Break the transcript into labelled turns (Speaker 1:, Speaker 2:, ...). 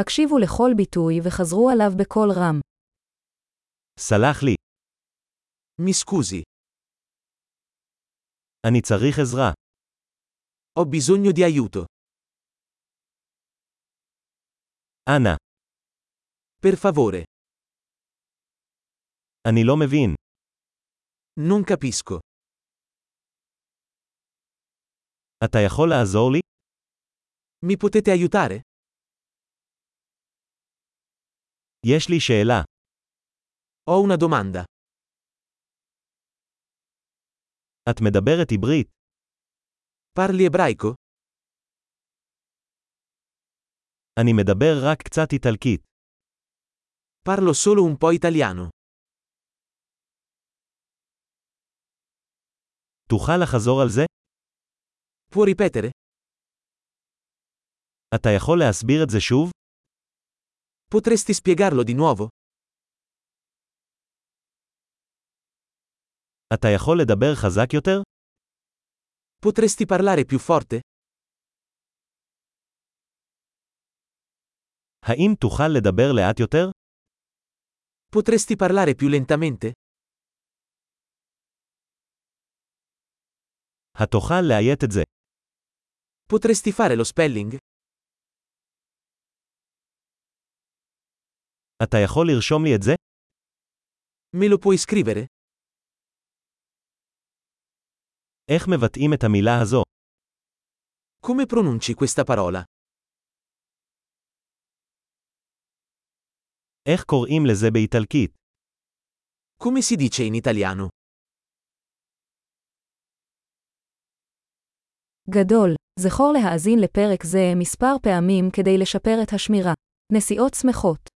Speaker 1: הקשיבו לכל ביטוי וחזרו עליו בקול רם.
Speaker 2: סלח לי,
Speaker 3: Mi scusi,
Speaker 2: אני צריך עזרה.
Speaker 3: ho bisogno di aiuto.
Speaker 2: אנא,
Speaker 3: Per favore,
Speaker 2: אני לא מבין.
Speaker 3: non capisco.
Speaker 2: אתה יכול לעזור לי?
Speaker 3: Mi potete aiutare?
Speaker 2: יש לי שאלה.
Speaker 3: Ho una domanda.
Speaker 2: את מדברת עברית.
Speaker 3: Parli ebraico?
Speaker 2: אני מדבר רק קצת איטלקית.
Speaker 3: Parlo solo un po' italiano.
Speaker 2: תוכל לחזור על זה?
Speaker 3: Può ripetere?
Speaker 2: אתה יכול להסביר את זה שוב?
Speaker 3: Potresti spiegarlo di nuovo?
Speaker 2: אתה יכול לדבר חזק יותר?
Speaker 3: Potresti parlare più forte?
Speaker 2: האם תוכל לדבר לאט יותר?
Speaker 3: Potresti parlare più lentamente?
Speaker 2: התוכל לאיית את זה.
Speaker 3: Potresti fare lo spelling?
Speaker 2: אתה יכול לרשום לי את זה?
Speaker 3: Me lo puoi scrivere?
Speaker 2: איך מבטאים את המילה הזו?
Speaker 3: Come pronunci questa parola?
Speaker 2: איך קוראים לזה באיטלקית?
Speaker 3: Come si dice in italiano?
Speaker 1: גדול, זכור להאזין לפרק זה מספר פעמים כדי לשפר את השמירה. נסיעות שמחות